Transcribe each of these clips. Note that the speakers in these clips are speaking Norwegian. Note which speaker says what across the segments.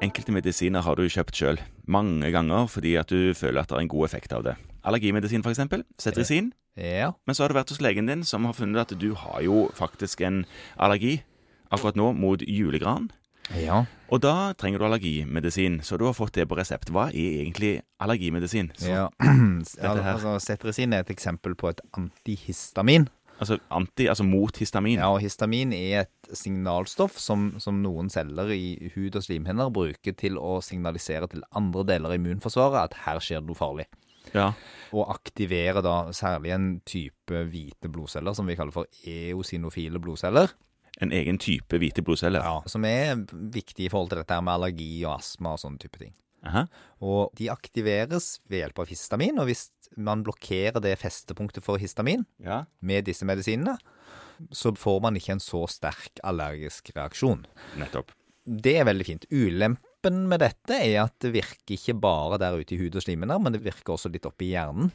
Speaker 1: Enkelte medisiner har du kjøpt sjøl mange ganger fordi at du føler at det er en god effekt av det. Allergimedisin, f.eks. Cetirizin.
Speaker 2: Ja.
Speaker 1: Men så har du vært hos legen din, som har funnet at du har jo faktisk en allergi akkurat nå mot julegran.
Speaker 2: ja.
Speaker 1: Og da trenger du allergimedisin, så du har fått det på resept. Hva er egentlig allergimedisin? Så,
Speaker 2: ja.
Speaker 1: dette her.
Speaker 2: Altså, Cetirizin er et eksempel på et antihistamin.
Speaker 1: Altså anti, altså mot histamin.
Speaker 2: Ja, og Histamin er et signalstoff som, som noen celler i hud- og slimhinner bruker til å signalisere til andre deler av immunforsvaret at her skjer det noe farlig.
Speaker 1: Ja.
Speaker 2: Og aktiverer da særlig en type hvite blodceller som vi kaller for eosinofile blodceller.
Speaker 1: En egen type hvite blodceller.
Speaker 2: Som er viktig i forhold til dette her med allergi og astma og sånne type ting.
Speaker 1: Aha.
Speaker 2: Og de aktiveres ved hjelp av histamin, og hvis man blokkerer det festepunktet for histamin
Speaker 1: Ja.
Speaker 2: med disse medisinene, så får man ikke en så sterk allergisk reaksjon.
Speaker 1: Nettopp.
Speaker 2: Det er veldig fint. Ulempen med dette er at det virker ikke bare der ute i hud og slimhinner, men det virker også litt oppi hjernen.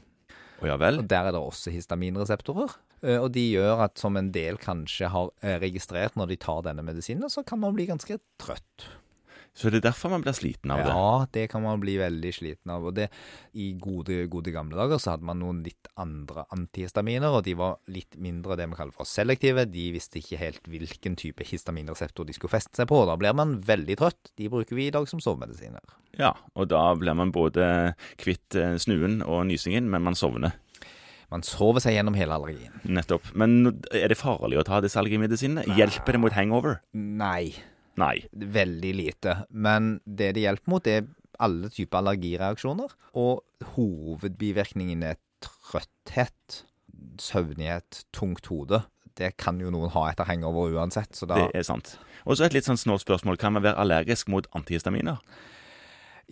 Speaker 1: Å ja vel.
Speaker 2: Og Der er det også histaminreseptorer. Eh, Og de gjør at som en del kanskje har eh, registrert når de tar denne medisinen, så kan man bli ganske trøtt.
Speaker 1: Så det er derfor man blir sliten av det.
Speaker 2: Ja, det kan man bli veldig sliten av. Og det, I gode, gode gamle dager så hadde man noen litt andre antihistaminer, og de var litt mindre det vi kaller for selektive. De visste ikke helt hvilken type histaminreseptor de skulle feste seg på. og Da blir man veldig trøtt. De bruker vi i dag som sovemedisiner.
Speaker 1: Ja, og da blir man både kvitt eh, snuen og nysingen, men man sovner.
Speaker 2: Man sover seg gjennom hele allergien.
Speaker 1: Nettopp. Men er det farlig å ta disse allergimedisinene? Hjelper det mot hangover?
Speaker 2: Nei,
Speaker 1: Nei.
Speaker 2: veldig lite. Men det det hjelper mot, er alle typer allergireaksjoner. Og hovedbivirkningen er trøtthet, søvnighet, tungt hode. Det kan jo noen ha etter hangover uansett, så da
Speaker 1: Det er sant. Og så et litt sånn snålt spørsmål. Kan man være allergisk mot antihistaminer?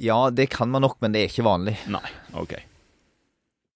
Speaker 2: Ja, det kan man nok, men det er ikke vanlig.
Speaker 1: Nei. Ok.